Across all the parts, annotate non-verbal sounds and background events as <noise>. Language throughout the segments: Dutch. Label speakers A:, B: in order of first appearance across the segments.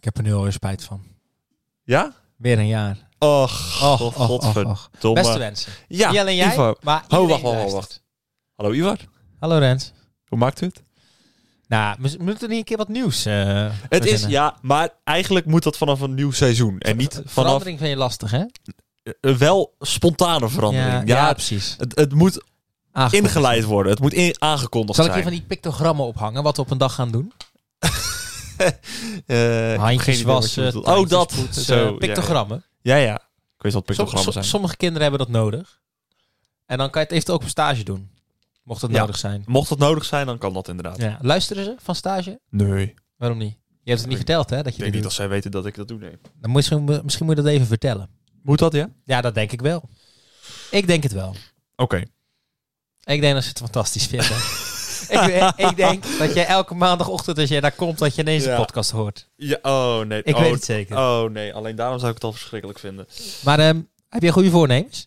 A: er nu alweer spijt van.
B: Ja?
A: Weer een jaar.
B: Och,
A: Och, och,
B: oh,
A: och, och.
B: godverdomme.
A: Beste wensen.
B: Ja,
A: Niet alleen jij,
B: Ivo.
A: maar
B: wacht,
A: iedereen
B: wacht,
A: die
B: wacht,
A: luistert.
B: wacht. Hallo Ivar,
A: Hallo Rens.
B: hoe maakt u het?
A: Nou, we z- we moeten niet een keer wat nieuws eh,
B: Het is,
A: verzinnen.
B: ja, maar eigenlijk moet dat vanaf een nieuw seizoen. En niet vanaf
A: Verandering vind je lastig, hè?
B: eh, wel spontane verandering. Ja,
A: Ja, ja, precies.
B: het, het moet
A: Aangekondigd.
B: ingeleid worden. Het moet in, aangekondigd
A: Zal ik je
B: zijn.
A: van die pictogrammen ophangen, wat we op een dag gaan doen?
B: Eh, ik heb geen
A: Handjes
B: idee wat je
A: wassen,
B: bedoelt. Oh, dat.
A: tandjes poetsen, eh,
B: Zo,
A: pictogrammen.
B: Ja, ja. ja. Ik weet wat
A: Som-
B: pictogrammen
A: som-
B: zijn.
A: sommige kinderen hebben dat nodig. En dan kan je het eventueel ook op stage doen. Mocht dat
B: Ja.
A: nodig zijn.
B: Mocht dat nodig zijn, dan kan dat inderdaad.
A: Ja. Luisteren ze van stage?
B: Nee. Ik
A: Waarom niet? Je hebt het niet
B: Ik
A: verteld, hè? Dat je
B: denk
A: dit
B: niet
A: doet.
B: dat zij weten dat ik dat doe, nee.
A: Dan moet je, misschien- misschien moet je dat even vertellen.
B: Moet dat, ja? Oké.
A: Ja, dat denk ik wel. Ik denk het wel. Ik denk dat ze het fantastisch <laughs> vinden. ik, ik denk dat jij elke maandagochtend, als jij daar komt, dat je ineens
B: Ja.
A: een podcast hoort.
B: Ja, oh, nee.
A: Ik
B: oh,
A: weet het zeker.
B: Oh, nee. Alleen daarom zou ik het al verschrikkelijk vinden.
A: Maar ehm, heb je goede voornemens?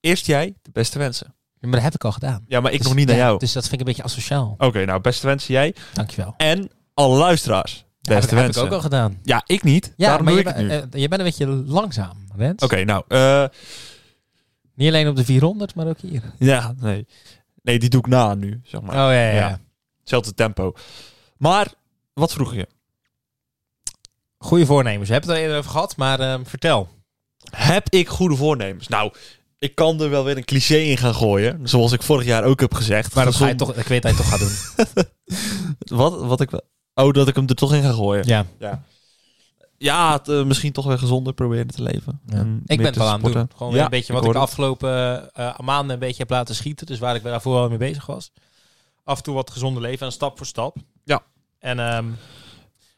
B: Eerst jij, de beste wensen.
A: Ja, Maar dat heb ik al gedaan.
B: Ja, maar ik
A: Dus-
B: nog niet naar
A: ja,
B: jou.
A: Dus dat vind ik een beetje asociaal.
B: Oké, nou, beste wensen jij.
A: Dankjewel.
B: En alle luisteraars,
A: Ja,
B: beste
A: heb, ik-
B: wensen.
A: heb ik ook al gedaan.
B: Ja, ik niet.
A: Ja,
B: daarom
A: maar
B: doe
A: je,
B: ik het
A: ben-
B: nu. Oké,
A: eh, je bent een beetje langzaam, Rens.
B: nou. eh,
A: Niet alleen op de 400, maar ook hier.
B: ja, nee. Nee, die doe ik na nu, zeg maar.
A: oh ja, ja,
B: ja. Hetzelfde tempo. Maar, wat vroeg je?
A: Goede voornemens. We hebben het al eerder over gehad, maar ehm, vertel.
B: Heb ik goede voornemens? Nou, ik kan er wel weer een cliché in gaan gooien. Zoals ik vorig jaar ook heb gezegd.
A: Maar dat ga je
B: Gezond-
A: toch, ik weet dat je het toch
B: <laughs>
A: gaat doen.
B: Wat, wat ik... wel- Oh, dat ik hem er toch in ga gooien.
A: Ja.
B: Ja, het, eh, misschien toch weer gezonder proberen te leven. En
A: Ik ben
B: meer
A: het
B: te
A: wel aan het doen.
B: sporten.
A: Gewoon
B: Ja,
A: weer een beetje wat ik,
B: hoor
A: de
B: het.
A: afgelopen eh, maanden een beetje heb laten schieten. Dus waar ik daarvoor al mee bezig was. Af en toe wat gezonder leven en stap voor stap.
B: Ja.
A: En ehm,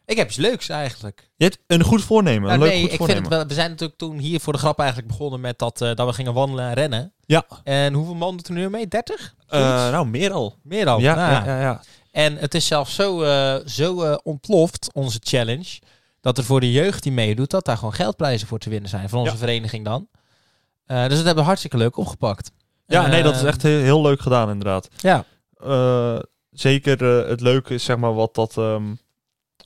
A: ik heb iets leuks eigenlijk.
B: Je hebt een goed voornemen. Een
A: Nou,
B: leuk
A: nee,
B: goed
A: ik vind
B: voornemen.
A: het wel, we zijn natuurlijk toen hier voor de grap eigenlijk begonnen met dat, eh, dat we gingen wandelen en rennen.
B: Ja.
A: En hoeveel man doet er nu mee? 30?
B: Ah. Eh, nou, meer al.
A: Meer dan.
B: ja,
A: Nou
B: ja, ja, ja.
A: En het is zelfs zo, eh, zo eh, ontploft, onze challenge, dat er voor de jeugd die meedoet, dat daar gewoon geldprijzen voor te winnen zijn. Van onze
B: Ja.
A: vereniging dan. Eh, dus dat hebben we hartstikke leuk opgepakt.
B: Ja, nee, dat is
A: Eh,
B: echt heel, heel leuk gedaan inderdaad.
A: Ja.
B: Eh, zeker eh, het leuke is zeg maar wat dat... ehm,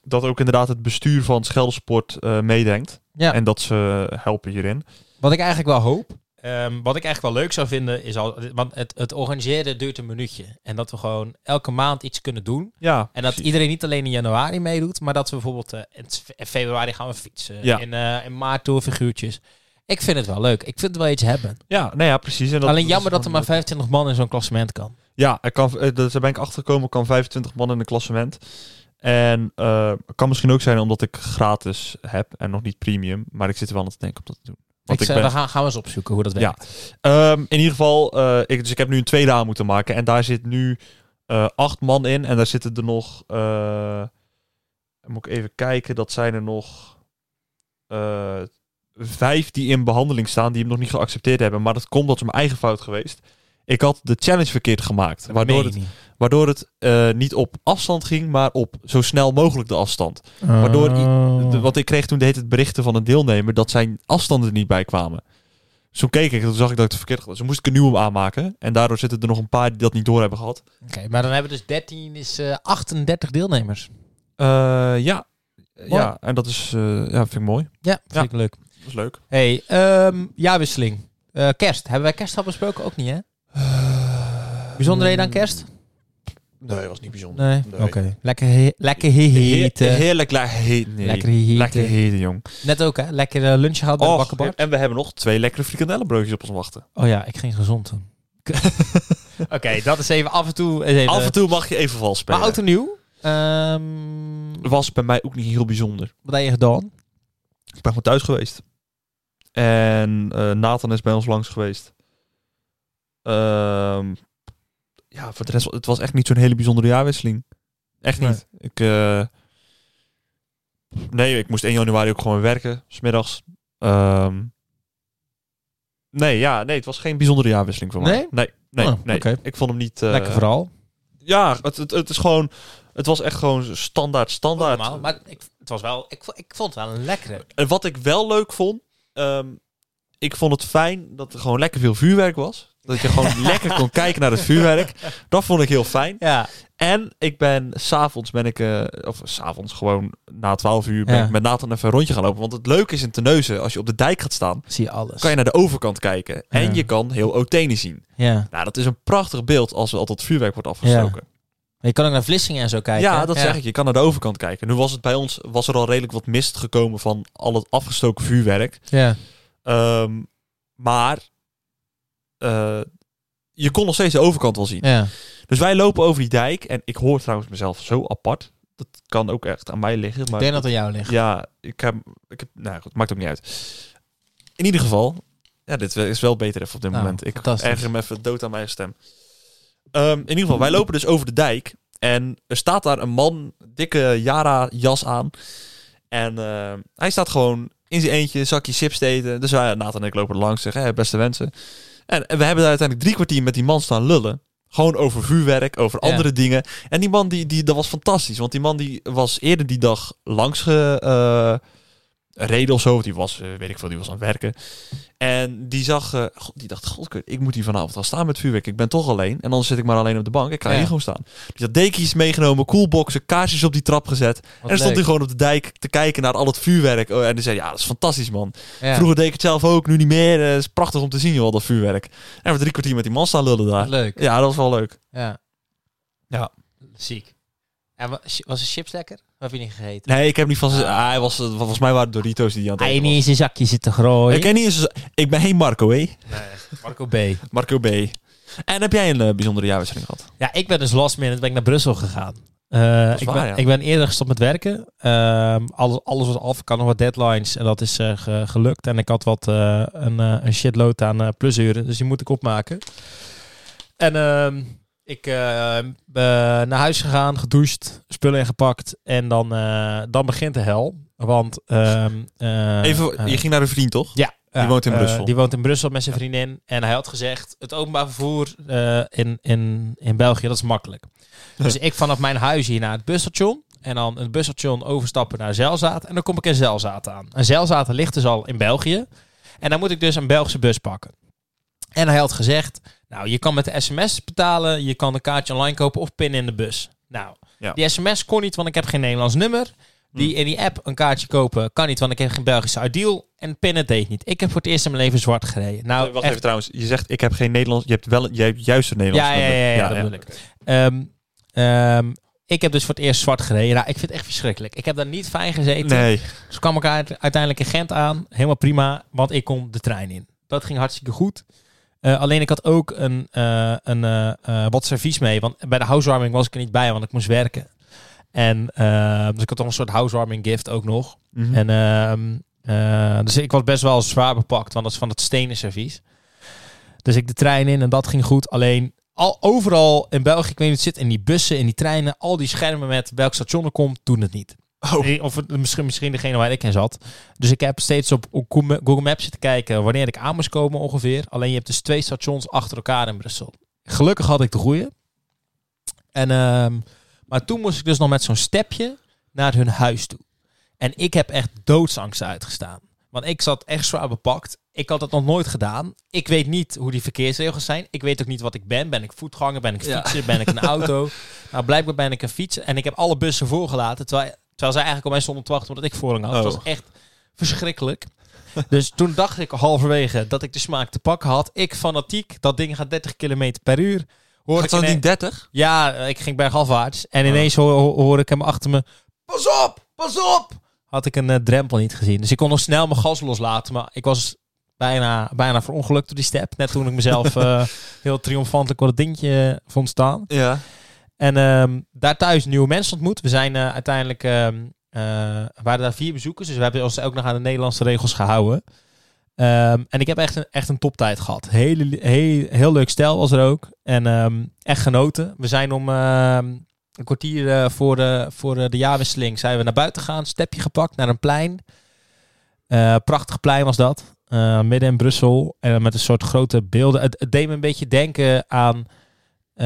B: dat ook inderdaad het bestuur van Scheldersport eh, meedenkt.
A: Ja.
B: En dat ze eh, helpen hierin.
A: Wat ik eigenlijk wel hoop, ehm, wat ik eigenlijk wel leuk zou vinden, is al, want het, het organiseren duurt een minuutje. En dat we gewoon elke maand iets kunnen doen.
B: Ja,
A: En dat
B: precies.
A: iedereen niet alleen in januari meedoet, maar dat we bijvoorbeeld eh, in fe- in februari gaan we fietsen.
B: Ja.
A: In, eh, in maart doen we figuurtjes. Ik vind het wel leuk. Ik vind het wel iets hebben.
B: Ja, nou ja, precies. En dat,
A: alleen jammer dat
B: is
A: er
B: gewoon
A: maar 25 man in zo'n klassement kan.
B: leuk. Ja, er kan, eh, dat- daar ben ik achtergekomen, kan 25 man in een klassement. En eh kan misschien ook zijn omdat ik gratis heb en nog niet premium. Maar ik zit er wel aan te denken om dat te doen. Want
A: ik
B: ik
A: zei,
B: ben-
A: we gaan, gaan we eens opzoeken hoe dat
B: Ja.
A: werkt.
B: Ehm, in ieder geval, eh, ik, dus ik heb nu een tweede aan moeten maken. En daar zit nu eh, acht man in. En daar zitten er nog... eh, moet ik even kijken, dat zijn er nog... eh, vijf die in behandeling staan, die hem nog niet geaccepteerd hebben. Maar dat komt, dat is mijn eigen fout geweest. Ik had de challenge verkeerd gemaakt.
A: Dat
B: Waardoor
A: meen
B: het
A: je niet.
B: Waardoor het eh, niet op afstand ging, maar op zo snel mogelijk de afstand. waardoor i-
A: Oh.
B: De- want ik kreeg toen deed het berichten van een deelnemer dat zijn afstanden er niet bij kwamen. Dus toen keek ik en toen zag ik dat ik het verkeerd had. Dus toen moest ik een nieuwe aanmaken. En daardoor zitten er nog een paar die dat niet door hebben gehad.
A: Oké, maar dan hebben we dus 13 is eh, 38 deelnemers.
B: Eh, ja.
A: Mooi.
B: ja, en dat is, eh, ja, vind ik mooi.
A: Ja,
B: Ja.
A: vind ik leuk.
B: Dat is leuk.
A: Hey, ehm, jaarwisseling. Eh, kerst. Hebben wij kerst al besproken? Ook niet, hè?
B: Eh,
A: Bijzonderheden aan kerst?
B: Nee, was niet bijzonder.
A: Nee. Oké. Lekker, he- lekker he- heten.
B: Heerlijk lekker heten. nee.
A: Lekker heten.
B: Lekker heten, jong.
A: Net ook, hè? Lekker eh, lunch gehad bij de
B: Och,
A: bakkenbar.
B: en we hebben nog twee lekkere frikandellenbroodjes op ons wachten.
A: Oh ja, ik ging gezond
B: <laughs>
A: doen. Oké, dat is even af en toe. is Even,
B: Af en toe mag je even vals spelen.
A: maar oud en nieuw. Ehm,
B: was bij mij ook niet heel bijzonder.
A: wat heb je gedaan?
B: Ik ben gewoon thuis geweest. En eh, Nathan is bij ons langs geweest. Ehm, ja, voor de rest, het was echt niet zo'n hele bijzondere jaarwisseling. Echt
A: Nee.
B: niet. Ik, eh, nee, ik moest 1 januari ook gewoon werken, smiddags. Ehm, nee, ja, nee, het was geen bijzondere jaarwisseling voor mij.
A: Nee?
B: Nee, nee,
A: Oh,
B: nee.
A: oké.
B: Ik vond hem niet... eh,
A: Lekker vooral.
B: Ja, het, het, het is gewoon... Het was echt gewoon standaard, standaard.
A: normaal, maar ik, het was wel, ik, vo- ik vond het wel een lekkere.
B: En wat ik wel leuk vond, ehm, ik vond het fijn dat er gewoon lekker veel vuurwerk was. Dat
A: <laughs>
B: je gewoon lekker kon kijken naar het vuurwerk. Dat vond ik heel fijn.
A: Ja.
B: En ik ben s'avonds ben ik, eh, of s'avonds gewoon na 12 uur ben
A: Ja.
B: ik met Nathan even een rondje gaan lopen. Want het leuke is in Teneuzen, als je op de dijk gaat staan,
A: Zie je alles.
B: kan je naar de overkant kijken. En
A: Ja.
B: je kan heel Otene zien.
A: Ja.
B: Nou, dat is een prachtig beeld als al dat vuurwerk wordt afgestoken.
A: Maar je kan ook naar Vlissingen en zo kijken.
B: ja, dat zeg ik. Je kan naar de overkant kijken. Nu was het bij ons, was er al redelijk wat mist gekomen van al het afgestoken vuurwerk.
A: Ja.
B: Ehm, maar eh, je kon nog steeds de overkant wel zien.
A: ja.
B: Dus wij lopen over die dijk. En ik hoor trouwens mezelf zo apart. Dat kan ook echt aan mij liggen.
A: Ik
B: Maar
A: denk dat het aan jou ligt.
B: ja, ik heb, ik heb. Nou goed, maakt ook niet uit. In ieder geval. Ja, dit is wel beter even op dit
A: Nou,
B: moment. Ik
A: fantastisch.
B: erger me even dood aan mijn eigen stem. Ehm, in ieder geval, wij lopen dus over de dijk. En er staat daar een man, dikke Yara-jas aan. En ehm, hij staat gewoon in zijn eentje, zakje chips te eten. Dus wij, Nathan en ik lopen er langs, zeggen, "Hey, beste wensen. En, en we hebben daar uiteindelijk drie kwartier met die man staan lullen. Gewoon over vuurwerk, over
A: Ja.
B: andere dingen. En die man, die, die, dat was fantastisch. Want die man die was eerder die dag langs ge, eh, reden of zo. want Die was, eh, weet ik veel, die was aan het werken. En die zag, eh, god, die dacht, god, ik moet hier vanavond al staan met vuurwerk. Ik ben toch alleen. En dan zit ik maar alleen op de bank. Ik ga
A: Ja.
B: hier gewoon staan. Dus dat dekens meegenomen, koelboxen, kaarsjes op die trap gezet. en dan stond hij gewoon op de dijk te kijken naar al het vuurwerk. Oh, en die zei, ja, dat is fantastisch, man.
A: Ja.
B: Vroeger deed ik het zelf ook, nu niet meer. Eh, Het is prachtig om te zien, joh, al dat vuurwerk. En we drie kwartier met die man staan lullen daar.
A: Wat Leuk.
B: Ja, dat was wel leuk.
A: Ja.
B: Ja.
A: Ziek. En wa- was de chips lekker? Of heb je niet gegeten?
B: Nee, ik heb niet van... ze- Ah, hij was, eh, volgens mij waren het Doritos die hij aan het
A: Hij
B: eten
A: niet
B: was.
A: eens in zakje zitten grooien.
B: Ik ken niet eens... Ik ben geen Marco, hé.
A: Marco B.
B: Marco B. En heb jij een eh, bijzondere jaarwisseling gehad?
A: Ja, ik ben dus last minute ben ik naar Brussel gegaan. Eh, ik,
B: waar,
A: ben,
B: ja.
A: ik ben eerder gestopt met werken. Ehm, alles, alles was af. Ik had nog wat deadlines. En dat is eh, ge- gelukt. En ik had wat, eh, een, eh, een shitload aan eh, plusuren. Dus die moet ik opmaken. En ehm, ik eh, eh, naar huis gegaan, gedoucht, spullen ingepakt. En dan, eh, dan begint de hel. Want... ehm, eh,
B: Even,
A: eh,
B: je ging naar een vriend, toch?
A: ja,
B: Die
A: ja,
B: woont in
A: eh,
B: Brussel.
A: Die woont in Brussel met zijn vriendin. En hij had gezegd, het openbaar vervoer eh, in, in, in België, dat is
B: <laughs>
A: makkelijk. Dus ik vanaf mijn huis hier naar het busstation. En dan het busstation overstappen naar Zelzaat. En dan kom ik in Zelzaat aan. En Zelzaat ligt dus al in België. En dan moet ik dus een Belgische bus pakken. En hij had gezegd, nou, je kan met de sms betalen. Je kan een kaartje online kopen of pinnen in de bus. Nou,
B: Ja. Hm.
A: die sms kon niet, want ik heb geen Nederlands nummer. Die in die app een kaartje kopen kan niet, want ik heb geen Belgische ideal. En pinnen deed niet. Ik heb voor het eerst in mijn leven zwart gereden. Nou,
B: Eh, Wacht
A: echt-
B: even trouwens. Je zegt, ik heb geen Nederlands... Je hebt wel een- je hebt juist een Nederlands
A: ja, ja, ja,
B: nummer.
A: ja, dat bedoel ik. Ehm, ehm, ik heb dus voor het eerst zwart gereden. Nou, ik vind het echt verschrikkelijk. Ik heb daar niet fijn gezeten.
B: Nee.
A: Dus kwam ik uit- uiteindelijk in Gent aan. Helemaal prima, want ik kon de trein in. Dat ging hartstikke goed. Eh, alleen ik had ook een, eh, een eh, eh, wat servies mee. Want bij de housewarming was ik er niet bij, want ik moest werken. En eh, dus ik had toch een soort housewarming gift ook nog.
B: Mhm.
A: En, ehm, eh, dus ik was best wel zwaar bepakt, want dat is van het stenen servies. Dus ik de trein in en dat ging goed. Alleen al, overal in België, ik weet niet hoe het zit, in die bussen, in die treinen, al die schermen met welk station er komt, doen het niet.
B: Oh.
A: Eh, Of het- misschien, misschien degene waar ik in zat. Dus ik heb steeds op Google Maps zitten kijken wanneer ik aan moest komen ongeveer. Alleen je hebt dus twee stations achter elkaar in Brussel. Gelukkig had ik de goede. En, ehm, maar toen moest ik dus nog met zo'n stepje naar hun huis toe. En ik heb echt doodsangst uitgestaan. Want ik zat echt zwaar bepakt. Ik had dat nog nooit gedaan. Ik weet niet hoe die verkeersregels zijn. Ik weet ook niet wat ik ben. Ben ik voetganger? Ben ik
B: Ja.
A: fietser? Ben ik een auto?
B: <laughs>
A: Nou, blijkbaar ben ik een fietser. En ik heb alle bussen voorgelaten. Terwijl, terwijl zij eigenlijk op mij stonden te wachten omdat ik voorrang had. Het
B: Oh.
A: was echt verschrikkelijk. <laughs> dus toen dacht ik halverwege dat ik de smaak te pakken had. Ik fanatiek, dat ding gaat 30 km per uur. Hoor
B: Gaat
A: ik
B: dat
A: ine-
B: niet 30?
A: ja, ik ging bergafwaarts. En ineens hoor, hoor ik hem achter me. Pas op, pas op! Had ik een eh, drempel niet gezien. Dus ik kon nog snel mijn gas loslaten. Maar ik was bijna, bijna verongelukt door die step. Net toen ik mezelf eh, heel triomfantelijk op het dingetje eh, vond staan.
B: Ja.
A: En ehm, daar thuis nieuwe mensen ontmoet. We zijn eh, uiteindelijk... ehm eh, waren daar vier bezoekers. Dus we hebben ons ook nog aan de Nederlandse regels gehouden. Ehm, en ik heb echt een, echt een toptijd gehad. Hele, heel, heel leuk stijl was er ook. En ehm, echt genoten. We zijn om ehm, een kwartier eh, voor, de, voor eh, de jaarwisseling zijn we naar buiten gegaan. Stepje gepakt naar een plein. Eh, prachtig plein was dat. Eh, midden in Brussel. En met een soort grote beelden. Het, het deed me een beetje denken aan...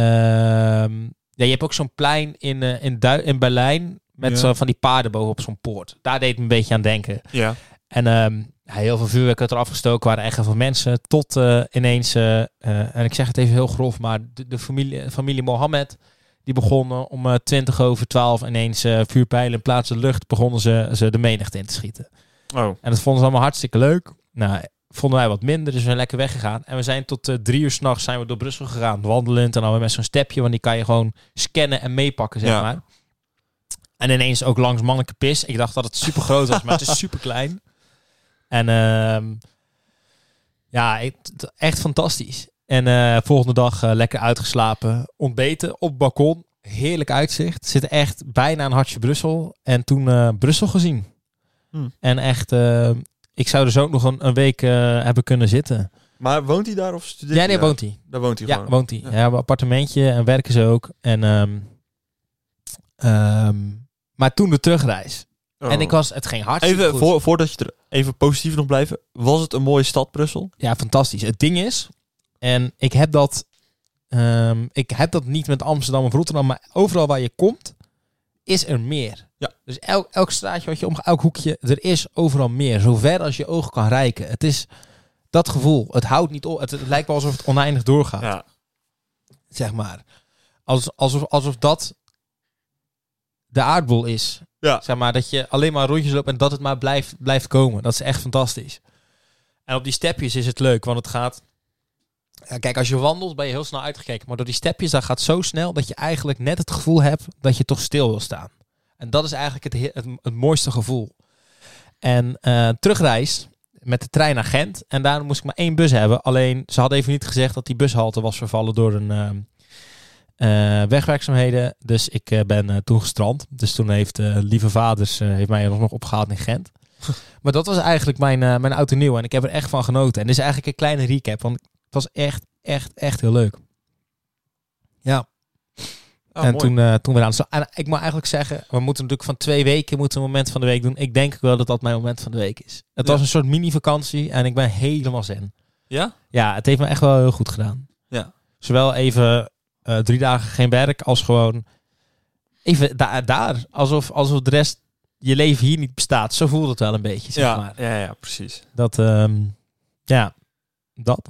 A: ehm, ja, je hebt ook zo'n plein in, eh, in, Dui- in Berlijn. Met
B: Ja.
A: zo van die paarden boven op zo'n poort. Daar deed het me een beetje aan denken.
B: Ja.
A: En ehm, ja, heel veel vuurwerk werd er afgestoken, waren echt heel veel mensen. Tot eh, ineens, eh, eh, en ik zeg het even heel grof, maar de, de familie, familie Mohammed, die begonnen om eh 20 over 12 ineens eh, vuurpijlen in plaats van lucht, begonnen ze, ze de menigte in te schieten.
B: Oh,
A: En dat vonden ze allemaal hartstikke leuk. Nou, vonden wij wat minder, dus we zijn lekker weggegaan. En we zijn tot eh, drie uur s'nachts zijn we door Brussel gegaan, wandelend. En dan weer met zo'n stepje, want die kan je gewoon scannen en meepakken, zeg
B: Ja.
A: maar. En ineens ook langs mannelijke pis. Ik dacht dat het super groot was, maar het is super klein. En ehm, ja, ik- t- echt fantastisch. En eh, volgende dag eh, lekker uitgeslapen, ontbeten op het balkon. Heerlijk uitzicht. Zit echt bijna een hartje Brussel. En toen eh, Brussel gezien.
B: Hmm.
A: En echt, eh, ik zou er zo ook nog een, een week eh, hebben kunnen zitten.
B: maar woont hij daar of
A: Ja,
B: studeert hij
A: nee,
B: daar?
A: woont hij.
B: Daar woont hij
A: Ja,
B: gewoon.
A: woont hij.
B: Ja.
A: Ja. hebben een appartementje en werken ze ook. En, ehm, ehm, maar toen de terugreis.
B: Oh.
A: En ik was, het ging hartstikke
B: Even,
A: goed.
B: voor, voordat je er even positief nog blijven. Was het een mooie stad, Brussel?
A: Ja, fantastisch. Het ding is, en ik heb dat, ehm, ik heb dat niet met Amsterdam of Rotterdam, maar overal waar je komt, is er meer.
B: Ja.
A: Dus elk, elk straatje wat je omgaat, elk hoekje, er is overal meer. Zo ver als je oog kan reiken. Het is dat gevoel. Het houdt niet op. Het, het lijkt wel alsof het oneindig doorgaat.
B: Ja.
A: Zeg maar. Als, alsof, alsof dat de aardbol is.
B: Ja.
A: Zeg maar dat je alleen maar rondjes loopt en dat het maar blijft, blijft komen. Dat is echt fantastisch. En op die stepjes is het leuk, want het gaat. Ja, kijk, als je wandelt ben je heel snel uitgekeken. Maar door die stepjes, dat gaat zo snel dat je eigenlijk net het gevoel hebt dat je toch stil wil staan. En dat is eigenlijk het, he- het, het mooiste gevoel. En eh, terugreis met de trein naar Gent. En daar moest ik maar één bus hebben. Alleen ze hadden even niet gezegd dat die bushalte was vervallen door een ehm, eh, wegwerkzaamheden. Dus ik eh, ben eh, toen gestrand. Dus toen heeft eh, lieve vaders eh, heeft mij er nog opgehaald in
B: <laughs>
A: Gent. maar dat was eigenlijk mijn, eh mijn auto nieuw. En ik heb er echt van genoten. En dit is eigenlijk een kleine recap. Want het was echt, echt, echt heel leuk. Ja.
B: Ah,
A: en
B: Oh, mooi.
A: toen, eh, toen weer aan de slag. En ik moet eigenlijk zeggen, we moeten natuurlijk van twee weken moeten we een moment van de week doen. Ik denk ook wel dat dat mijn moment van de week is. Het
B: Ja.
A: was een soort mini-vakantie en ik ben helemaal zen.
B: Ja?
A: Ja, het heeft me echt wel heel goed gedaan.
B: Ja.
A: Zowel even eh, drie dagen geen werk als gewoon even da- daar. Alsof, alsof de rest je leven hier niet bestaat. Zo voelt het wel een beetje, zeg
B: ja,
A: maar.
B: ja, ja, precies.
A: Dat, ehm, ja, dat.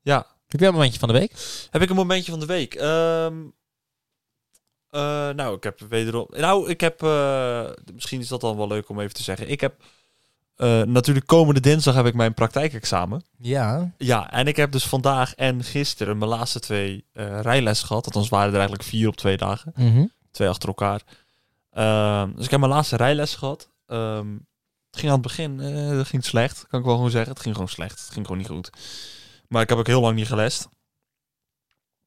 B: Ja.
A: Heb jij een momentje van de week?
B: Heb ik een momentje van de week? Ehm, eh, nou, ik heb wederom. Nou, ik heb. eh, misschien is dat dan wel leuk om even te zeggen. Ik heb. eh, natuurlijk, komende dinsdag heb ik mijn praktijkexamen.
A: Ja.
B: Ja, en ik heb dus vandaag en gisteren mijn laatste twee eh rijlessen gehad. Althans waren er eigenlijk vier op twee dagen.
A: Mhm.
B: Twee achter elkaar. Ehm, dus ik heb mijn laatste rijles gehad. Ehm, het ging aan het begin eh, dat ging slecht, kan ik wel gewoon zeggen. Het ging gewoon slecht. Het ging gewoon niet goed. Maar ik heb ook heel lang niet gelest.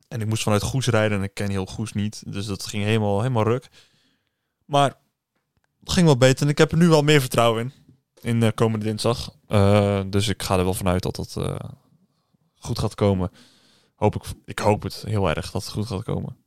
B: En ik moest vanuit Goes rijden en ik ken heel Goes niet. Dus dat ging helemaal, helemaal ruk. Maar het ging wel beter en ik heb er nu wel meer vertrouwen in. In eh, komende dinsdag. Eh, dus ik ga er wel vanuit dat dat eh, goed gaat komen. Hoop ik, ik hoop het heel erg dat het goed gaat komen.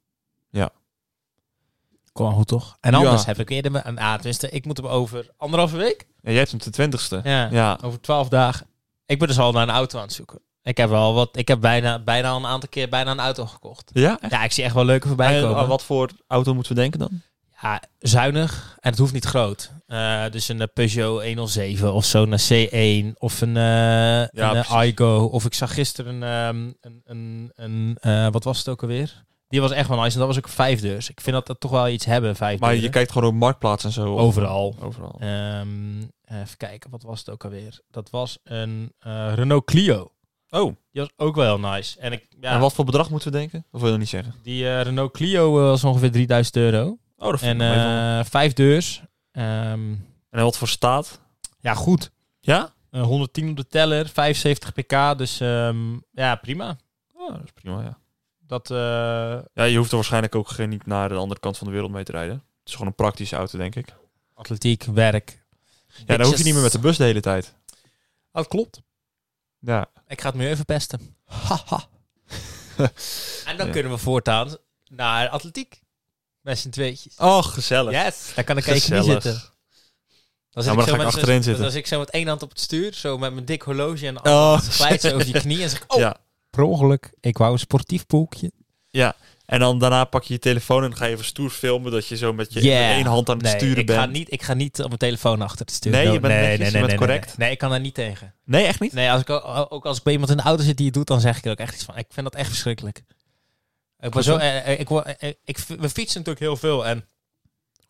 A: Kom maar goed, toch? En anders
B: Ja.
A: heb ik eerder... me- Ah, tenminste, ik moet hem over anderhalve week.
B: En jij hebt hem de twintigste.
A: Ja.
B: Ja,
A: Over twaalf dagen. Ik ben dus al naar een auto aan het zoeken. Ik heb al wat... Ik heb bijna, bijna al een aantal keer bijna een auto gekocht.
B: ja?
A: Ja, ik zie echt wel leuke voorbij
B: En
A: komen.
B: aan wat voor auto moeten we denken dan?
A: Ja, zuinig. En het hoeft niet groot. Eh, dus een eh, Peugeot 107 of zo, een C1 of een, eh een eh,
B: precies.
A: Igo. Of ik zag gisteren ehm, een, een, een eh, wat was het ook alweer? Die was echt wel nice. En dat was ook vijf deurs. Ik vind dat dat toch wel iets hebben, vijf
B: Maar je
A: deuren.
B: kijkt gewoon op marktplaats en zo.
A: Overal.
B: Overal.
A: Ehm, even kijken, wat was het ook alweer? Dat was een eh, Renault Clio.
B: Oh,
A: Die was ook wel heel nice. En, ik, ja,
B: en wat voor bedrag moeten we denken? Of wil je dat niet zeggen?
A: die eh, Renault Clio eh, was ongeveer 3000 euro.
B: Oh, dat
A: En
B: ik nog even-
A: eh, vijf deurs. Ehm,
B: en wat voor staat?
A: ja, goed.
B: Ja?
A: Eh, 110 op de teller, 75 pk. Dus ehm, ja, prima.
B: Oh, dat is prima, ja.
A: Dat, eh,
B: Ja, je hoeft er waarschijnlijk ook geen, niet naar de andere kant van de wereld mee te rijden. Het is gewoon een praktische auto, denk ik.
A: atletiek, werk.
B: Ja, dan hoef je niet meer met de bus de hele tijd.
A: Dat Oh, klopt.
B: Ja.
A: Ik ga het nu even pesten. Haha. <laughs> en dan
B: Ja.
A: kunnen we voortaan naar atletiek. Met z'n tweetjes.
B: Oh, gezellig.
A: Yes, daar kan ik even niet
B: Gezellig.
A: zitten. Dan
B: Ja, maar dan
A: zo
B: ga ik
A: met z'n-
B: achterin zitten.
A: Dan zit ik zo met één hand op het stuur, zo met mijn dik horloge
B: <laughs>
A: en
B: Oh,
A: glijdt zo over je knie en zeg ik, oh,
B: <laughs> Ja.
A: per ongeluk, ik wou een sportief boekje.
B: Ja. En dan daarna pak je je telefoon en dan ga je even stoer filmen dat je zo met je
A: Yeah.
B: met één hand aan het
A: Nee,
B: sturen
A: ik
B: bent.
A: Ga niet, ik ga niet op mijn telefoon achter te sturen.
B: Nee, je
A: No,
B: bent netjes, je bent correct.
A: Nee, Nee, ik kan daar niet tegen.
B: Nee, echt niet?
A: Nee, als ik, ook ook als ik bij iemand in de auto zit die het doet, dan zeg ik er ook echt iets van. Ik vind dat echt verschrikkelijk. Ik word zo, eh, eh, ik, word- eh, eh, ik, we fietsen natuurlijk heel veel. En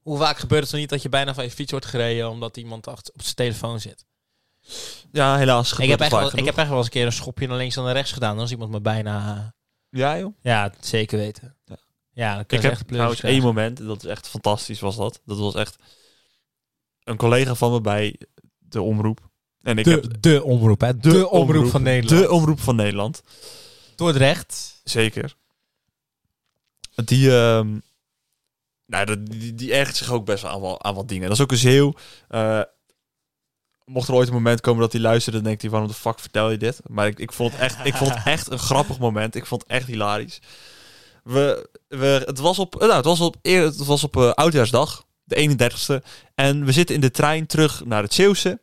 A: hoe vaak gebeurt het zo niet dat je bijna van je fiets wordt gereden omdat iemand achter, op zijn telefoon zit?
B: Ja, helaas.
A: Ik
B: gebeurt
A: heb,
B: het
A: echt wel,
B: vaak
A: ik heb
B: genoeg.
A: echt wel eens een keer een schopje naar links en naar rechts gedaan. Dan is iemand me bijna...
B: Ja, joh.
A: Ja, het zeker weten.
B: Ja.
A: Ja, dan kun
B: Ik
A: je
B: heb
A: echt pleuris
B: trouwens één moment, dat is echt fantastisch was dat. Dat was echt een collega van me bij de omroep. En ik heb
A: krijgen. de, de omroep, hè? De, omroep, van Nederland.
B: De omroep van Nederland.
A: Dordrecht.
B: Zeker. Die, ehm, nou, dat- die, die ergert zich ook best wel aan, wel- aan wat dingen. Dat is ook een zeeuw. Eh, mocht er ooit een moment komen dat hij luistert, dan denkt hij, waarom de fuck vertel je dit? Maar ik, ik, vond, het echt, ik vond het echt een grappig moment. Ik vond het echt hilarisch. We, we, het was op, eh, nou, het was op, eer- het was op eh, Oudjaarsdag, de 31ste. En we zitten in de trein terug naar het Zeeuwse.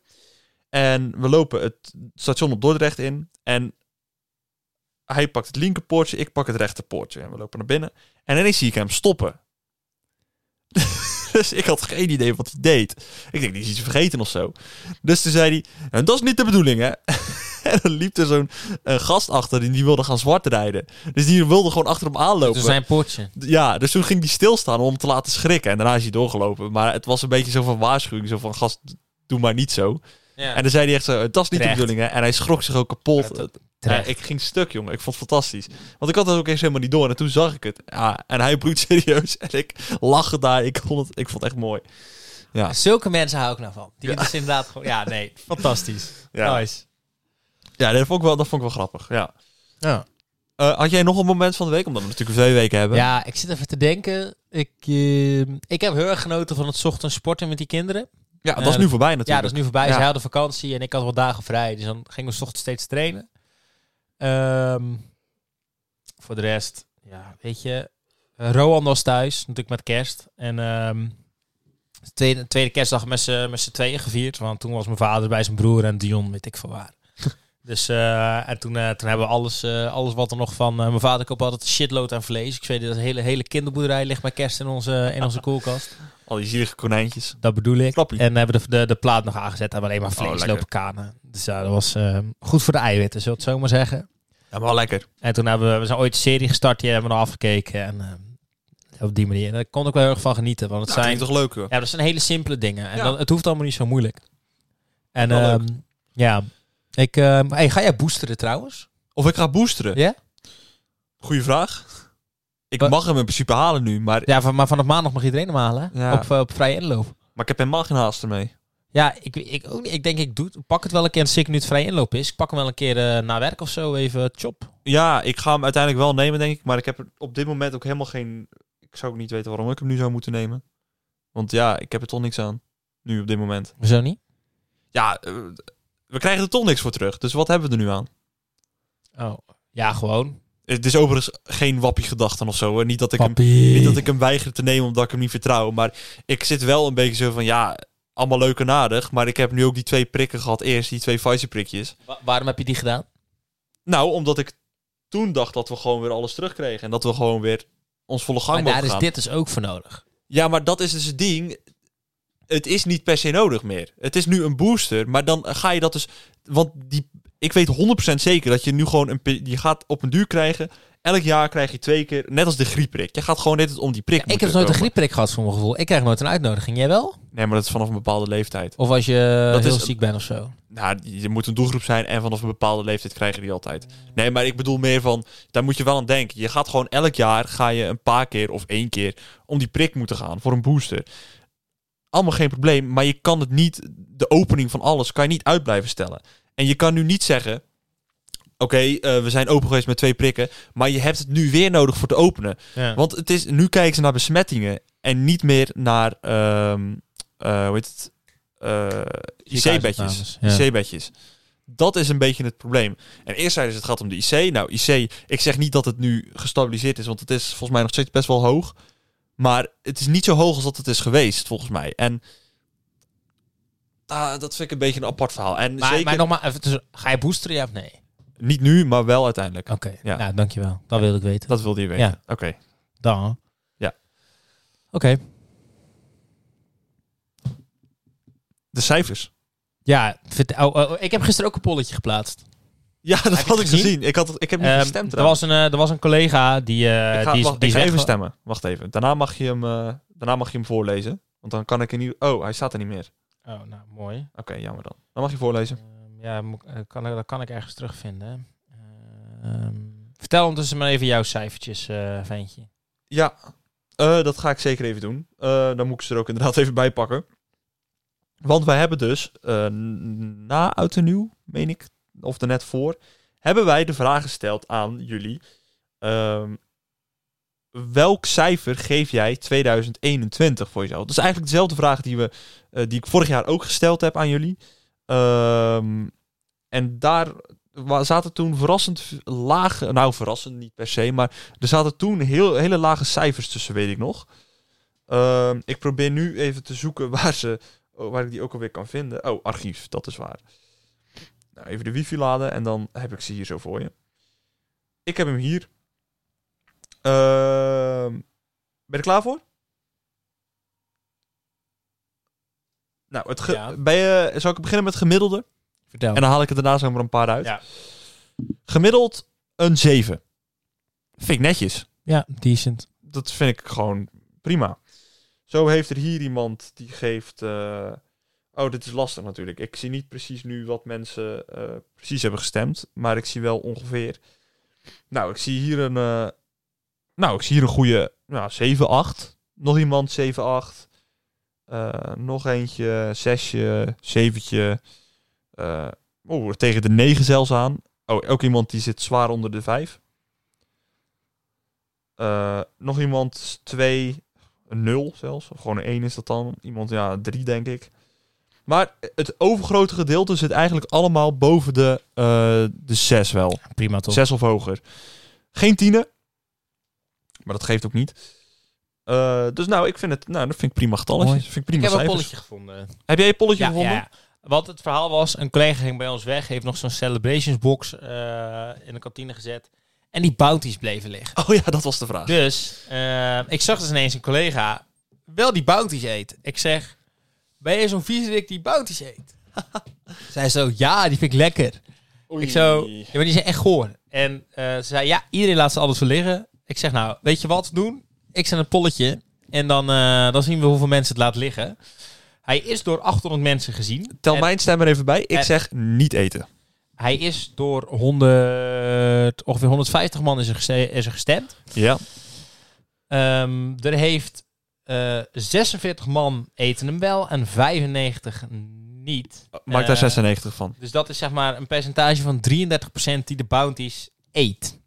B: En we lopen het station op Dordrecht in. En hij pakt het linker poortje, ik pak het rechter poortje. En we lopen naar binnen. En ineens zie ik hem stoppen. <laughs> dus ik had geen idee wat hij deed. Ik denk, die is iets vergeten of zo. Dus toen zei hij, "En dat is niet de bedoeling, hè. <laughs> en dan liep er zo'n eh, gast achter en die wilde gaan zwart rijden. Dus die wilde gewoon achter hem
A: Dat
B: aanlopen.
A: is zijn poortje.
B: Ja, dus toen ging hij stilstaan om hem te laten schrikken. En daarna is hij doorgelopen. Maar het was een beetje zo van waarschuwing. Zo van, gast, doe maar niet zo.
A: Ja.
B: En dan zei hij echt zo, dat is niet
A: Terecht.
B: de bedoeling, hè. En hij schrok zich ook
A: Ja,
B: kapot.
A: dat-
B: Ja, Eh, ik ging stuk, jongen. Ik vond het fantastisch. Want ik had dat ook eens helemaal niet door. En toen zag ik het. Ja, en hij bloedt <laughs> serieus. En ik lachte daar. Ik vond het, ik vond het echt mooi. Ja.
A: Zulke mensen hou ik nou van. Die is inderdaad gewoon... Ja, nee. <laughs> Fantastisch.
B: Ja,
A: Nice.
B: ja dat, vond ik wel, dat vond ik wel grappig. Ja.
A: Ja.
B: Eh, had jij nog een moment van de week? Omdat we natuurlijk twee weken hebben.
A: ja, ik zit even te denken. Ik, eh, ik heb heel erg genoten van het ochtends sporten met die kinderen.
B: Ja, dat
A: Eh,
B: is nu voorbij natuurlijk.
A: Ja, dat is nu voorbij.
B: Ja.
A: Zij hadden vakantie en ik had wel dagen vrij. Dus dan gingen we 's ochtends steeds trainen. Ehm, voor de rest, ja, weet je. eh, Roan was thuis, natuurlijk met kerst. En ehm, de tweede, tweede kerstdag met z'n met z'n tweeën gevierd. Want toen was mijn vader bij zijn broer en Dion, weet ik van <laughs> waar. dus eh, en toen, eh, toen hebben we alles, eh, alles wat er nog van... eh, mijn vader koopt altijd een shitload aan vlees. Ik weet dat de hele, hele kinderboerderij ligt met kerst in onze, in onze koelkast.
B: Al die zielige konijntjes.
A: Dat bedoel ik. eh,
B: Flappy.
A: En hebben de, de, de plaat nog aangezet. Hebben alleen maar
B: Oh,
A: vlees
B: lekker.
A: lopen kanen. Dus ja, dat was eh, goed voor de eiwitten, zullen we het zo maar zeggen.
B: Ja, maar wel lekker.
A: En toen hebben we, we zijn ooit een serie gestart. Die hebben we nog afgekeken. En eh, op die manier. En daar kon ik wel heel erg van genieten. Want het
B: Dat
A: zijn,
B: Nou, klinkt toch leuk, hoor.
A: ja, dat zijn hele simpele dingen. En
B: Ja.
A: dan, het hoeft allemaal niet zo moeilijk. En
B: Wel
A: ehm, ja, ik, ehm, hey, ga jij boosteren trouwens?
B: Of ik ga boosteren.
A: Ja?
B: Goeie vraag. Ik
A: Wa-
B: mag hem in principe halen nu. Maar,
A: Ja, van, maar vanaf maandag mag iedereen hem halen. hè?
B: Ja.
A: Op, eh, op vrije inloop.
B: maar ik heb helemaal geen haast ermee.
A: Ja, ik, ik, ook niet. ik denk ik doe, het- pak het wel een keer als ik nu het vrije inloop is. Ik pak hem wel een keer eh, na werk of zo even chop.
B: Ja, ik ga hem uiteindelijk wel nemen, denk ik. Maar ik heb er op dit moment ook helemaal geen... Ik zou ook niet weten waarom ik hem nu zou moeten nemen. Want ja, ik heb er toch niks aan. Nu op dit moment.
A: Zo niet?
B: Ja, eh, we krijgen er toch niks voor terug. Dus wat hebben we er nu aan?
A: Oh. Ja, gewoon.
B: Het is overigens geen wappie gedachten of zo. Hè? Niet, dat ik hem,
A: Papi.
B: niet dat ik hem weiger te nemen omdat ik hem niet vertrouw. Maar ik zit wel een beetje zo van... Ja, allemaal leuk en aardig. Maar ik heb nu ook die twee prikken gehad. Eerst die twee Pfizer-prikjes.
A: Wa- waarom heb je die gedaan?
B: Nou, omdat ik toen dacht dat we gewoon weer alles terugkregen. En dat we gewoon weer ons volle gang
A: Maar
B: mogen
A: daar is
B: gaan.
A: dit dus ook voor nodig.
B: Ja, maar dat is dus het ding. Het is niet per se nodig meer. Het is nu een booster, maar dan ga je dat dus... Want die, ik weet 100% zeker dat je nu gewoon een... pi- Je gaat op een duur krijgen. Elk jaar krijg je twee keer, net als de griepprik. Je gaat gewoon net om die prik
A: Ja, ik
B: moeten
A: heb nooit een
B: komen.
A: griepprik gehad voor mijn gevoel. Ik krijg nooit een uitnodiging. Jij wel?
B: Nee, maar dat is vanaf een bepaalde leeftijd.
A: Of als je
B: Dat
A: heel
B: is-
A: ziek bent of zo.
B: Nou, je moet een doelgroep zijn en vanaf een bepaalde leeftijd krijgen die altijd. Nee, maar ik bedoel meer van, daar moet je wel aan denken. Je gaat gewoon elk jaar, ga je een paar keer of één keer om die prik moeten gaan voor een booster. Allemaal geen probleem, maar je kan het niet, de opening van alles kan je niet uit blijven stellen. En je kan nu niet zeggen, oké, eh, we zijn open geweest met twee prikken, maar je hebt het nu weer nodig voor te openen.
A: Ja.
B: Want het is, nu kijken ze naar besmettingen en niet meer naar, ehm, eh, hoe heet het, Eh, IC-bedjes.
A: Ja.
B: IC-bedjes. Dat is een beetje het probleem. En eerst zeiden ze het gaat om de IC. Nou, IC, ik zeg niet dat het nu gestabiliseerd is, want het is volgens mij nog steeds best wel hoog. Maar het is niet zo hoog als dat het is geweest, volgens mij. En ah, dat vind ik een beetje een apart verhaal. En
A: Maar,
B: zeker
A: maar nogmaals, even tussen- ga je boosteren ja of nee?
B: niet nu, maar wel uiteindelijk.
A: Oké,
B: Ja.
A: nou dankjewel. Dat wil ik weten.
B: Dat wilde je weten.
A: Ja.
B: Oké.
A: Dan.
B: Ja.
A: Oké.
B: De cijfers.
A: Ja, vertel- oh, oh, oh, ik heb gisteren ook een polletje geplaatst.
B: Ja, dat
A: je
B: had ik
A: het gezien?
B: gezien. Ik, had, het- ik heb niet
A: Ehm,
B: gestemd.
A: er, was een, eh, er was een collega die... eh,
B: ik ga,
A: die is,
B: wacht,
A: die
B: ik
A: is
B: ga even
A: wegge-
B: stemmen. Wacht even. Daarna mag je hem, eh, daarna mag je hem voorlezen. Want dan kan ik in ieder... Oh, hij staat er niet meer.
A: Oh, nou, mooi.
B: Oké, jammer dan. Dan mag je voorlezen.
A: Ehm, ja, moet ik- eh, kan, ik- dat kan ik ergens terugvinden. hè. Ehm, vertel ondertussen maar even jouw cijfertjes, eh ventje.
B: Ja, eh, dat ga ik zeker even doen. Eh, dan moet ik ze er ook inderdaad even bij pakken. Want wij hebben dus, eh, n- na Oud en Nieuw, meen ik, of daarnet voor, hebben wij de vraag gesteld aan jullie. ehm, welk cijfer geef jij 2021 voor jezelf? Dat is eigenlijk dezelfde vraag die, we, eh, die ik vorig jaar ook gesteld heb aan jullie. Ehm, en daar wa- zaten toen verrassend v- lage, nou verrassend niet per se, maar er zaten toen heel, hele lage cijfers tussen, weet ik nog. Ehm, ik probeer nu even te zoeken <laughs> waar, ze, oh, waar ik die ook alweer kan vinden. Oh, archief, dat is waar. Nou, even de wifi laden en dan heb ik ze hier zo voor je. Ik heb hem hier. Ehm, ben je er klaar voor? Nou, het ge-
A: Ja.
B: ben je, zal ik beginnen met gemiddelde?
A: Vertel.
B: En dan haal ik er daarna zo maar een paar uit.
A: Ja.
B: Gemiddeld een 7. Vind ik netjes.
A: ja, decent.
B: Dat vind ik gewoon prima. Zo heeft er hier iemand die geeft. eh, Oh, dit is lastig natuurlijk. Ik zie niet precies nu wat mensen eh, precies hebben gestemd. Maar ik zie wel ongeveer. Nou, ik zie hier een. eh, Nou, ik zie hier een goede. Nou, 7, 8. Nog iemand 7, 8. Eh, nog eentje, zesje, zeventje. Eh Oeh, tegen de 9 zelfs aan. Oh, ook iemand die zit zwaar onder de 5. Eh, nog iemand 2, een 0 zelfs. Of gewoon een 1 is dat dan. Iemand, ja, 3 denk ik. Maar het overgrote gedeelte zit eigenlijk allemaal boven de, eh de 6 wel.
A: Prima toch?
B: Zes of hoger. Geen tienen. Maar dat geeft ook niet. Eh, dus nou, ik vind het, nou, dat vind ik prima getalletjes.
A: Mooi.
B: Vind ik
A: Ik
B: prima
A: heb een
B: cijfers.
A: polletje gevonden.
B: Heb jij je polletje
A: Ja,
B: gevonden?
A: ja, ja. Wat het verhaal was, een collega ging bij ons weg, heeft nog zo'n celebrations box eh, in de kantine gezet. En die bounties bleven liggen.
B: Oh ja, dat was de vraag.
A: Dus eh, ik zag dus ineens een collega wel die bounties eet. Ik zeg, ben je zo'n viezerik die bounties eet? <laughs> Zij zo, ja, die vind ik lekker. Ik zo, ja, maar die zijn echt goor. En eh, ze zei, ja, iedereen laat ze alles voor liggen. Ik zeg, nou, weet je wat we doen? Ik zet een polletje en dan, eh, dan zien we hoeveel mensen het laat liggen. Hij is door 800 mensen gezien.
B: Tel
A: En-
B: mijn stem er even bij. Ik
A: en-
B: zeg niet eten.
A: Hij is door 100, ongeveer 150 man is er, geste- is er gestemd.
B: Ja.
A: Ehm, er heeft eh, 46 man eten hem wel en 95 niet.
B: Maak daar
A: Eh,
B: 96 van.
A: Dus dat is zeg maar een percentage van 33% die de bounties eet.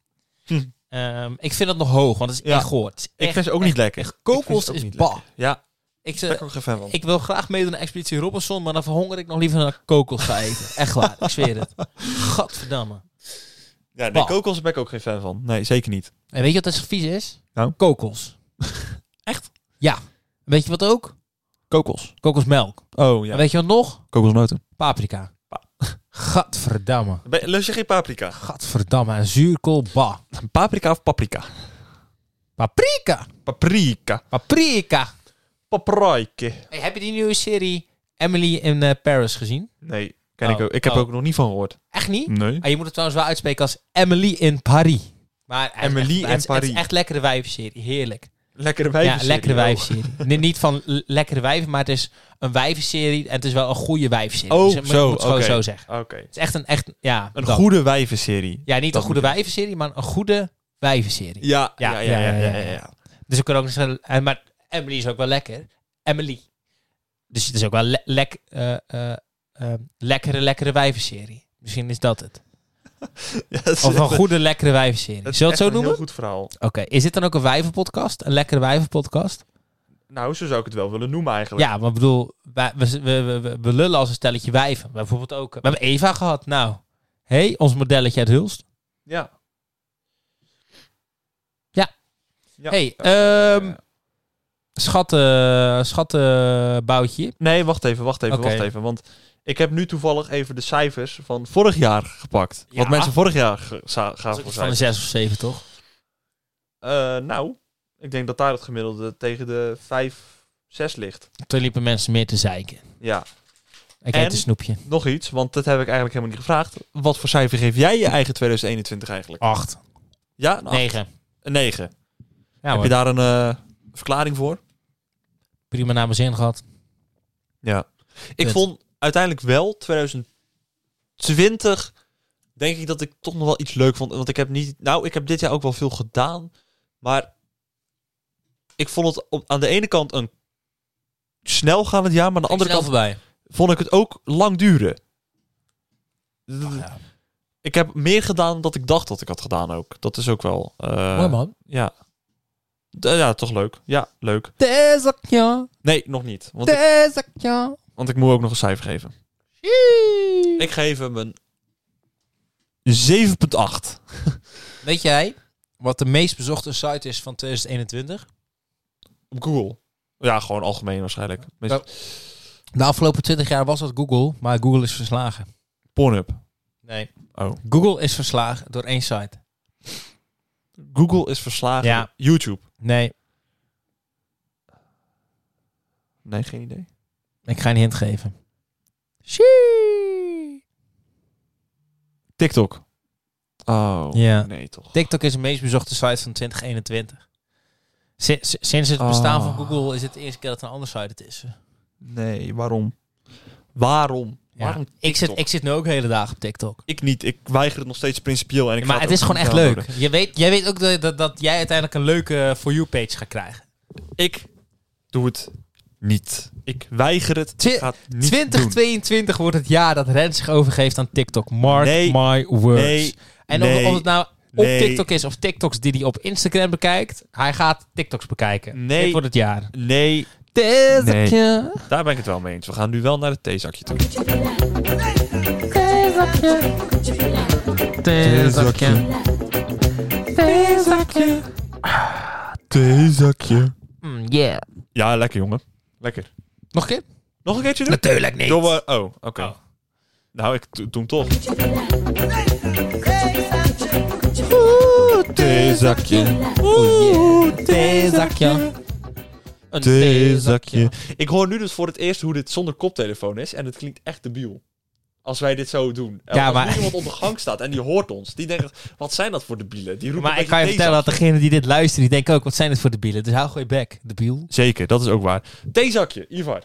B: Hm.
A: Ehm, ik vind dat nog hoog, want het is
B: Ja.
A: echt goor. Het is
B: Ik
A: echt-
B: vind ze ook niet lekker. Ik vind
A: kokos
B: ze ook
A: is
B: niet
A: bah.
B: lekker. Ja,
A: Ik,
B: daar
A: zeg,
B: ben ik ook geen fan van.
A: ik wil graag meedoen aan Expeditie Robinson, maar dan verhonger ik nog liever naar kokos ga eten.
B: <laughs>
A: echt waar, ik zweer het. Gadverdamme.
B: ja, nee,
A: bah.
B: kokos ben ik ook geen fan van. Nee, zeker niet.
A: En weet je wat dat vies is?
B: Nou?
A: Kokos.
B: <laughs> Echt?
A: Ja. Weet je wat ook?
B: Kokos.
A: Kokosmelk.
B: Oh
A: En
B: ja,
A: weet je wat nog?
B: kokosnoten.
A: Paprika. Gadverdamme.
B: Lust je geen paprika?
A: <laughs> Gadverdamme. En zuurkool. Bah.
B: Paprika of paprika?
A: Paprika.
B: Paprika.
A: Paprika.
B: Paprike.
A: Hey, heb je die nieuwe serie Emily in eh, Paris gezien?
B: Nee, ken
A: Oh.
B: ik, ook, ik heb
A: Oh.
B: er ook nog niet van gehoord.
A: Echt niet?
B: Nee.
A: Ah, je moet het trouwens wel uitspreken als Emily in Paris. Maar hij is
B: Emily
A: echt-
B: in
A: het is- Het
B: Paris. oh.
A: is echt lekkere wijfserie. Heerlijk.
B: Lekkere wijven.
A: ja, lekkere wijfserie.
B: <laughs>
A: Nee, niet van l- lekkere wijven, maar het is een wijvenserie. En het is wel een goede wijvenserie.
B: Oh,
A: Dus ik moet- ik
B: zo,
A: moet het gewoon
B: oké.
A: zo zeggen.
B: Oké.
A: Het is echt een, echt, ja,
B: Een
A: dat.
B: goede wijvenserie.
A: Ja, niet
B: dat
A: een goede
B: moet je-
A: wijvenserie, maar een goede wijvenserie.
B: Ja,
A: Ja,
B: ja, ja, ja, ja, ja, ja.
A: Dus ik kan ook nog zeggen, eh, maar Emily is ook wel lekker. Emily. Dus het is ook wel le- lek- eh, eh, eh, lekkere, lekkere wijvenserie. Misschien is dat het.
B: Ja, het is
A: Of
B: <laughs> echt-
A: een goede, lekkere wijvenserie. Zullen
B: is
A: we het
B: echt
A: zo
B: een
A: noemen?
B: heel goed verhaal.
A: Oké, is dit dan ook een wijvenpodcast? Een lekkere wijvenpodcast?
B: Nou, zo zou ik het wel willen noemen eigenlijk.
A: Ja, maar ik bedoel, wij- we, we, we, we- we lullen als een stelletje wijven. Maar Bijvoorbeeld ook, we hebben Eva gehad. Nou, hé, hey, ons modelletje uit Hulst.
B: Ja.
A: Ja.
B: Ja.
A: hey,
B: Ja.
A: ehm schatten, schatten boutje.
B: Nee, wacht even, wacht even,
A: Oké.
B: wacht even. Want ik heb nu toevallig even de cijfers van vorig jaar gepakt.
A: Ja.
B: Wat mensen vorig jaar ge- za-
A: Dat is
B: gaven
A: ook
B: voor
A: iets van een
B: cijfers.
A: zes of zeven, toch?
B: Eh, nou, Ik denk dat daar het gemiddelde tegen de 5, 6 ligt.
A: Toen liepen mensen meer te zeiken.
B: Ja.
A: Ik
B: En?
A: eet een snoepje.
B: Nog iets, want dat heb ik eigenlijk helemaal niet gevraagd. Wat voor cijfer geef jij je eigen 2021 eigenlijk?
A: Acht.
B: Ja, een acht.
A: Negen.
B: Een 9.
A: Ja,
B: heb je
A: hoor.
B: daar een eh, verklaring voor?
A: Prima naar mijn zin gehad.
B: Ja. Ik
A: Punt.
B: vond uiteindelijk wel 2020 denk ik dat ik toch nog wel iets leuk vond. Want ik heb niet. Nou, ik heb dit jaar ook wel veel gedaan. Maar ik vond het op, aan de ene kant een snel gaand jaar, maar aan de andere kant
A: voorbij.
B: vond ik het ook lang duren.
A: Ah,
B: Ik heb meer gedaan dan dat ik dacht dat ik had gedaan ook. Dat is ook wel. eh,
A: Mooi man.
B: Ja. D- ja, toch leuk. Ja, leuk.
A: Desakja.
B: Nee, nog niet. Want ik,
A: Desakja.
B: want ik moet ook nog een cijfer geven. Ik geef hem een 7,8.
A: Weet jij wat de meest bezochte site is van 2021?
B: Op Google. Ja, gewoon algemeen waarschijnlijk. Meest...
A: Nou. De afgelopen 20 jaar was dat Google, maar Google is verslagen.
B: Pornhub.
A: Nee.
B: Oh.
A: Google is verslagen door één site.
B: Google is verslagen.
A: Ja.
B: YouTube.
A: Nee,
B: Nee, geen idee.
A: ik ga een hint geven.
B: TikTok. Oh.
A: Ja.
B: Nee, toch.
A: TikTok is de meest bezochte site van 2021. Si- si- Sinds het bestaan
B: Oh.
A: van Google is het de eerste keer dat een andere site het is.
B: Nee, waarom? Waarom?
A: Ja.
B: Waarom
A: Ik zit,
B: TikTok?
A: ik zit nu ook de hele dag op TikTok.
B: Ik niet. Ik weiger het nog steeds principieel. En ik
A: Ja,
B: ga
A: maar het is
B: ook
A: gewoon
B: niet
A: echt leuk.
B: downloaden.
A: Je weet, jij weet ook dat, dat, dat jij uiteindelijk een leuke eh, For You page gaat krijgen.
B: Ik doe het niet. Ik weiger het.
A: Twi-
B: Ik ga het niet
A: 2022 wordt het jaar dat Ren zich overgeeft aan TikTok. Mark
B: Nee.
A: my words.
B: Nee.
A: en of,
B: Nee.
A: of het nou op
B: Nee.
A: TikTok is of TikToks die hij op Instagram bekijkt, hij gaat TikToks bekijken.
B: Nee.
A: Dit wordt het jaar.
B: doen. Nee,
A: Tezakje.
B: daar ben ik het wel mee eens. We gaan nu wel naar het theezakje toe.
A: Theezakje.
B: Theezakje.
A: Mm, yeah.
B: Ja, lekker jongen. Lekker.
A: Nog een keer?
B: Nog een keertje doen?
A: Natuurlijk niet.
B: Door, eh, oh, oké.
A: Oh.
B: Nou, ik do- doe hem toch.
A: Oeh, theezakje. Een theezakje.
B: Ik hoor nu dus voor het eerst hoe dit zonder koptelefoon is. En het klinkt echt debiel. Als wij dit zo doen. En
A: Ja,
B: als
A: maar-
B: nu iemand op de gang staat en die hoort ons. Die denkt, wat zijn dat voor debielen? Die roepen
A: Maar
B: een
A: ik kan je
B: beetje
A: vertellen dat
B: theezakje.
A: degenen die dit luisteren, die denken ook, wat zijn dit voor debielen? Dus hou gewoon je bek, debiel.
B: Zeker, dat is ook waar. Theezakje, Ivar.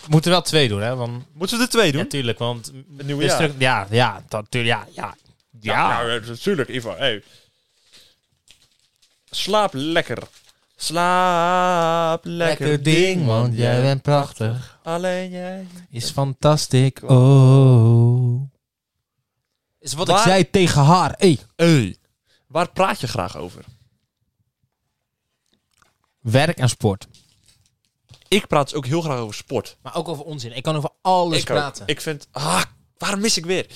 A: We moeten wel twee doen, hè? Want,
B: Moeten we er twee doen?
A: ja, tuurlijk, want... Het
B: nieuwe
A: is
B: jaar.
A: terug- Ja, ja, dat, tuurlijk, ja, ja. Ja.
B: nou, eh, natuurlijk, Ivar. Hey. Slaap lekker. Slaap lekker,
A: Lekker ding, want jij bent prachtig.
B: Alleen jij.
A: Is fantastisch, oh. Is wat
B: Waar-
A: ik zei tegen haar, hey.
B: Hey. Waar praat je graag over?
A: Werk en sport.
B: Ik praat dus ook heel graag over sport.
A: Maar ook over onzin. Ik kan over alles
B: ik, ook.
A: praten.
B: ik vind, ah, waarom mis ik weer?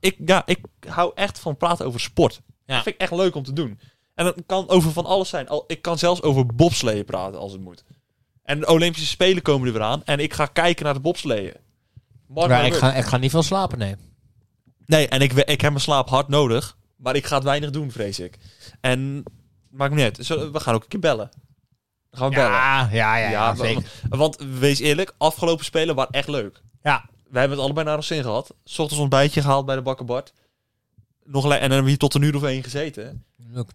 B: Ik, ja, ik hou echt van praten over sport.
A: Ja.
B: Dat vind ik echt leuk om te doen. En dat kan over van alles zijn. Al, ik kan zelfs over bobsleeën praten als het moet. En de Olympische Spelen komen er weer aan. En ik ga kijken naar de bobsleeën. Mark
A: Maar
B: my
A: ik
B: word.
A: ga, ik ga niet veel slapen, nee.
B: Nee, en ik, we- ik heb mijn slaap hard nodig. Maar ik ga het weinig doen, vrees ik. En maakt me niet uit. Zullen- We gaan ook een keer bellen. Dan gaan we bellen.
A: Ja, ja, ja,
B: Ja,
A: ja, zeker.
B: wa- want wees eerlijk, afgelopen spelen waren echt leuk.
A: Ja.
B: Wij hebben het allebei naar ons zin gehad. 's Ochtends ontbijtje gehaald bij de bakker Bart. Nog le- en dan hebben we hier tot een uur of één gezeten.
A: Leuk.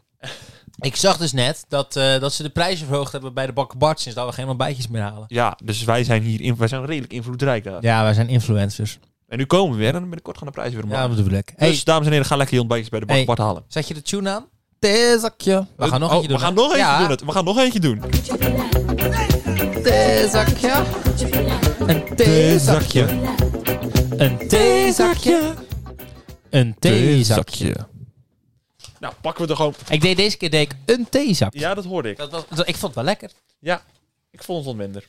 A: Ik zag dus net dat, eh, dat ze de prijzen verhoogd hebben bij de Bakker Bart sinds dat we geen ontbijtjes meer halen.
B: Ja, dus wij zijn hier in, wij zijn redelijk invloedrijk daar.
A: Ja, wij zijn influencers.
B: En nu komen we weer en binnenkort gaan de prijzen weer omhoog.
A: Ja, dat bedoel ik.
B: dus
A: Hey,
B: dames en heren, ga lekker je ontbijtjes bij de bakker
A: Hey.
B: Bart halen.
A: zet je de tune aan? Theezakje. We gaan nog
B: Oh,
A: eentje doen.
B: We gaan nog eentje
A: ja.
B: doen. Het. We gaan nog eentje doen.
A: Theezakje. Een theezakje. Een theezakje. Een theezakje.
B: Nou, pakken we er gewoon.
A: Ik deed deze keer deed ik een theezakje.
B: Ja, dat hoorde ik.
A: Dat, was- dat- ik vond het wel lekker.
B: Ja, ik vond het wat minder.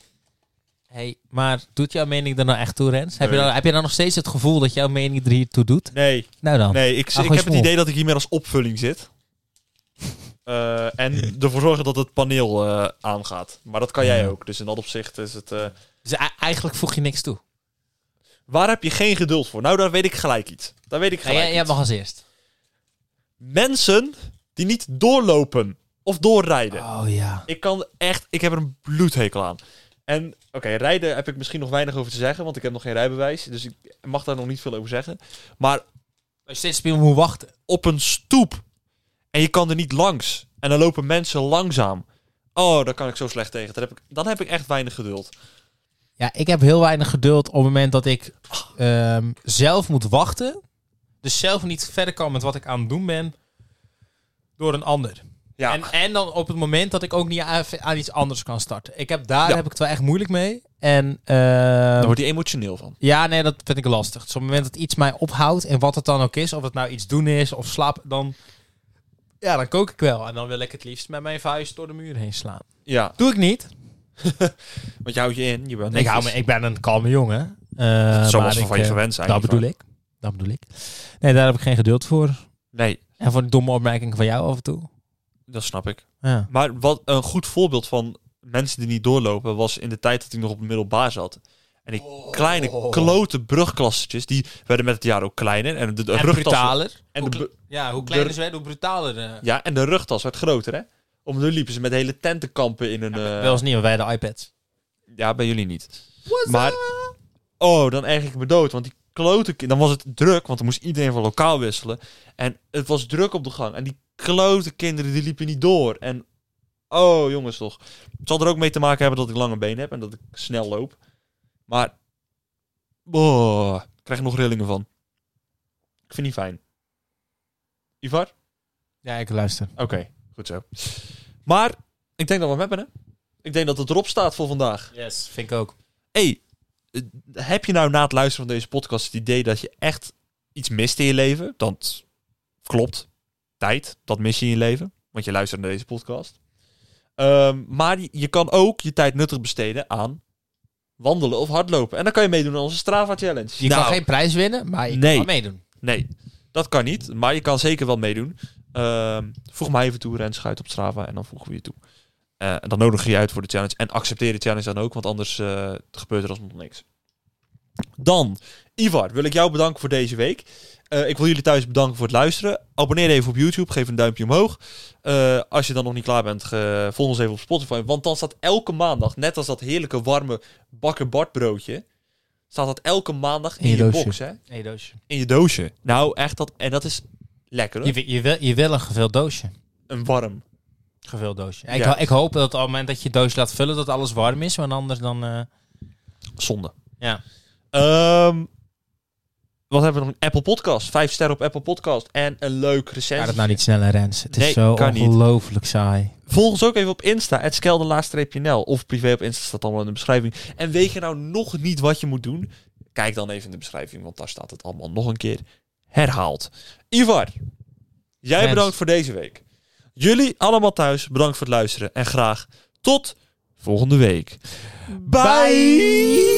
A: Hey, maar doet jouw mening er nou echt toe, Rens? Heb, je
B: Nee.
A: dan, heb je dan nog steeds het gevoel dat jouw mening er hier toe doet?
B: Nee,
A: Nou dan.
B: Nee, ik,
A: Ah,
B: ik
A: gewoon
B: heb het
A: small.
B: idee dat ik hier meer als opvulling zit. Eh,
A: <laughs>
B: en ervoor zorgen dat het paneel eh, aangaat. Maar dat kan jij
A: Ja.
B: ook. Dus in dat opzicht is het. eh,
A: Dus e- eigenlijk voeg je niks toe.
B: waar heb je geen geduld voor? Nou, daar weet ik gelijk iets. Daar weet ik
A: Ja,
B: gelijk.
A: jij, jij
B: iets.
A: mag als eerst.
B: Mensen die niet doorlopen. of doorrijden.
A: Oh ja.
B: Ik kan echt, ik heb er een bloedhekel aan. En oké, rijden heb ik misschien nog weinig over te zeggen, want ik heb nog geen rijbewijs. Dus ik mag daar nog niet veel over zeggen. Maar
A: Als je steeds op iemand moet wachten.
B: op een stoep. En je kan er niet langs. En dan lopen mensen langzaam. Oh, daar kan ik zo slecht tegen. Dan heb ik, dan heb ik echt weinig geduld.
A: Ja, ik heb heel weinig geduld op het moment dat ik ehm, zelf moet wachten. Dus zelf niet verder kan met wat ik aan het doen ben. Door een ander.
B: Ja,
A: En, en dan op het moment dat ik ook niet aan, aan iets anders kan starten. Ik heb, daar
B: Ja.
A: heb ik het wel echt moeilijk mee. En,
B: daar
A: ehm,
B: wordt hij emotioneel van.
A: Ja, nee, dat vind ik lastig. Dus op het moment dat iets mij ophoudt en wat het dan ook is, of het nou iets doen is of slaap, dan, ja, dan kook ik wel. En dan wil ik het liefst met mijn vuist door de muur heen slaan.
B: Ja,
A: Doe ik niet.
B: want je houdt je in. Je bent
A: Ik, hou me, ik ben een kalme jongen. Eh,
B: Zo
A: maar
B: was
A: ik,
B: van je
A: eh,
B: gewend zijn.
A: Dat bedoel ik. Dat bedoel ik. Nee, daar heb ik geen geduld voor.
B: Nee,
A: En voor de domme opmerkingen van jou af en toe.
B: dat snap ik.
A: Ja.
B: Maar wat een goed voorbeeld van mensen die niet doorlopen was in de tijd dat ik nog op de middelbaar zat. En die
A: Oh.
B: kleine klote brugklassetjes, die werden met het jaar ook kleiner. En de, de
A: En
B: rugtas-
A: brutaler.
B: en de
A: Hoe
B: bu-
A: kle- ja, hoe
B: de-
A: kleiner ze werden, hoe brutaler. eh.
B: Ja, en de rugtas werd groter, hè? Om nu liepen ze met hele tentenkampen in een... eh,
A: Wel eens niet, want wij de iPads.
B: Ja, bij jullie niet. Maar, oh, dan erg ik me dood. Want die klote... ki- Dan was het druk, want dan moest iedereen van lokaal wisselen. En het was druk op de gang. En die klote kinderen, die liepen niet door. En, oh, jongens toch. Het zal er ook mee te maken hebben dat ik lange benen heb en dat ik snel loop. Maar, oh, ik krijg er nog rillingen van. Ik vind het niet fijn. Ivar?
A: Ja, ik luister.
B: Oké, goed zo. Maar ik denk dat we hem hebben, hè? Ik denk dat het erop staat voor vandaag.
A: Yes. Vind ik ook.
B: hey, eh, heb je nou na het luisteren van deze podcast het idee dat je echt iets mist in je leven? Dat klopt. Tijd, dat mis je in je leven. Want je luistert naar deze podcast. Ehm, maar je- je kan ook je tijd nuttig besteden aan wandelen of hardlopen. En dan kan je meedoen aan onze Strava Challenge.
A: Je
B: Nou,
A: kan geen prijs winnen, maar je
B: Nee.
A: kan wel meedoen.
B: Nee, dat kan niet. Maar je kan zeker wel meedoen. Ehm, voeg mij even toe, Rens Schuit op Strava. En dan voegen we je toe. Eh, en dan nodig je uit voor de challenge. En accepteer de challenge dan ook. Want anders eh, gebeurt er alsnog niks. Dan, Ivar, wil ik jou bedanken voor deze week. Eh, ik wil jullie thuis bedanken voor het luisteren. Abonneer even op YouTube. Geef een duimpje omhoog. Eh, als je dan nog niet klaar bent, ge- volg ons even op Spotify. Want dan staat elke maandag, net als dat heerlijke warme bakker Bart broodje... staat dat elke maandag in,
A: In je
B: je
A: doosje.
B: box, hè?
A: Nee, doosje.
B: in je doosje. Nou, echt dat. En dat is lekker hoor.
A: Je, wi- je, wil, je wil een gevuld doosje.
B: Een warm.
A: Gevuld doosje. Ik,
B: Ja.
A: ho- ik hoop dat op het moment dat je het doosje laat vullen, dat alles warm is. Want anders dan... eh,
B: Zonde.
A: ja.
B: Ehm, wat hebben we nog? Apple Podcast. Vijf sterren op Apple Podcast. En een leuk
A: Ga
B: recensie.
A: dat nou niet sneller, Rens. Het is
B: Nee,
A: zo
B: kan niet.
A: ongelooflijk saai.
B: Volg ons ook even op Insta. Het skelde Of privé op Insta staat allemaal in de beschrijving. En weet je nou nog niet wat je moet doen? Kijk dan even in de beschrijving, want daar staat het allemaal nog een keer herhaald. Ivar, jij
A: Rens.
B: bedankt voor deze week. Jullie allemaal thuis, bedankt voor het luisteren. En graag tot volgende week. Bye.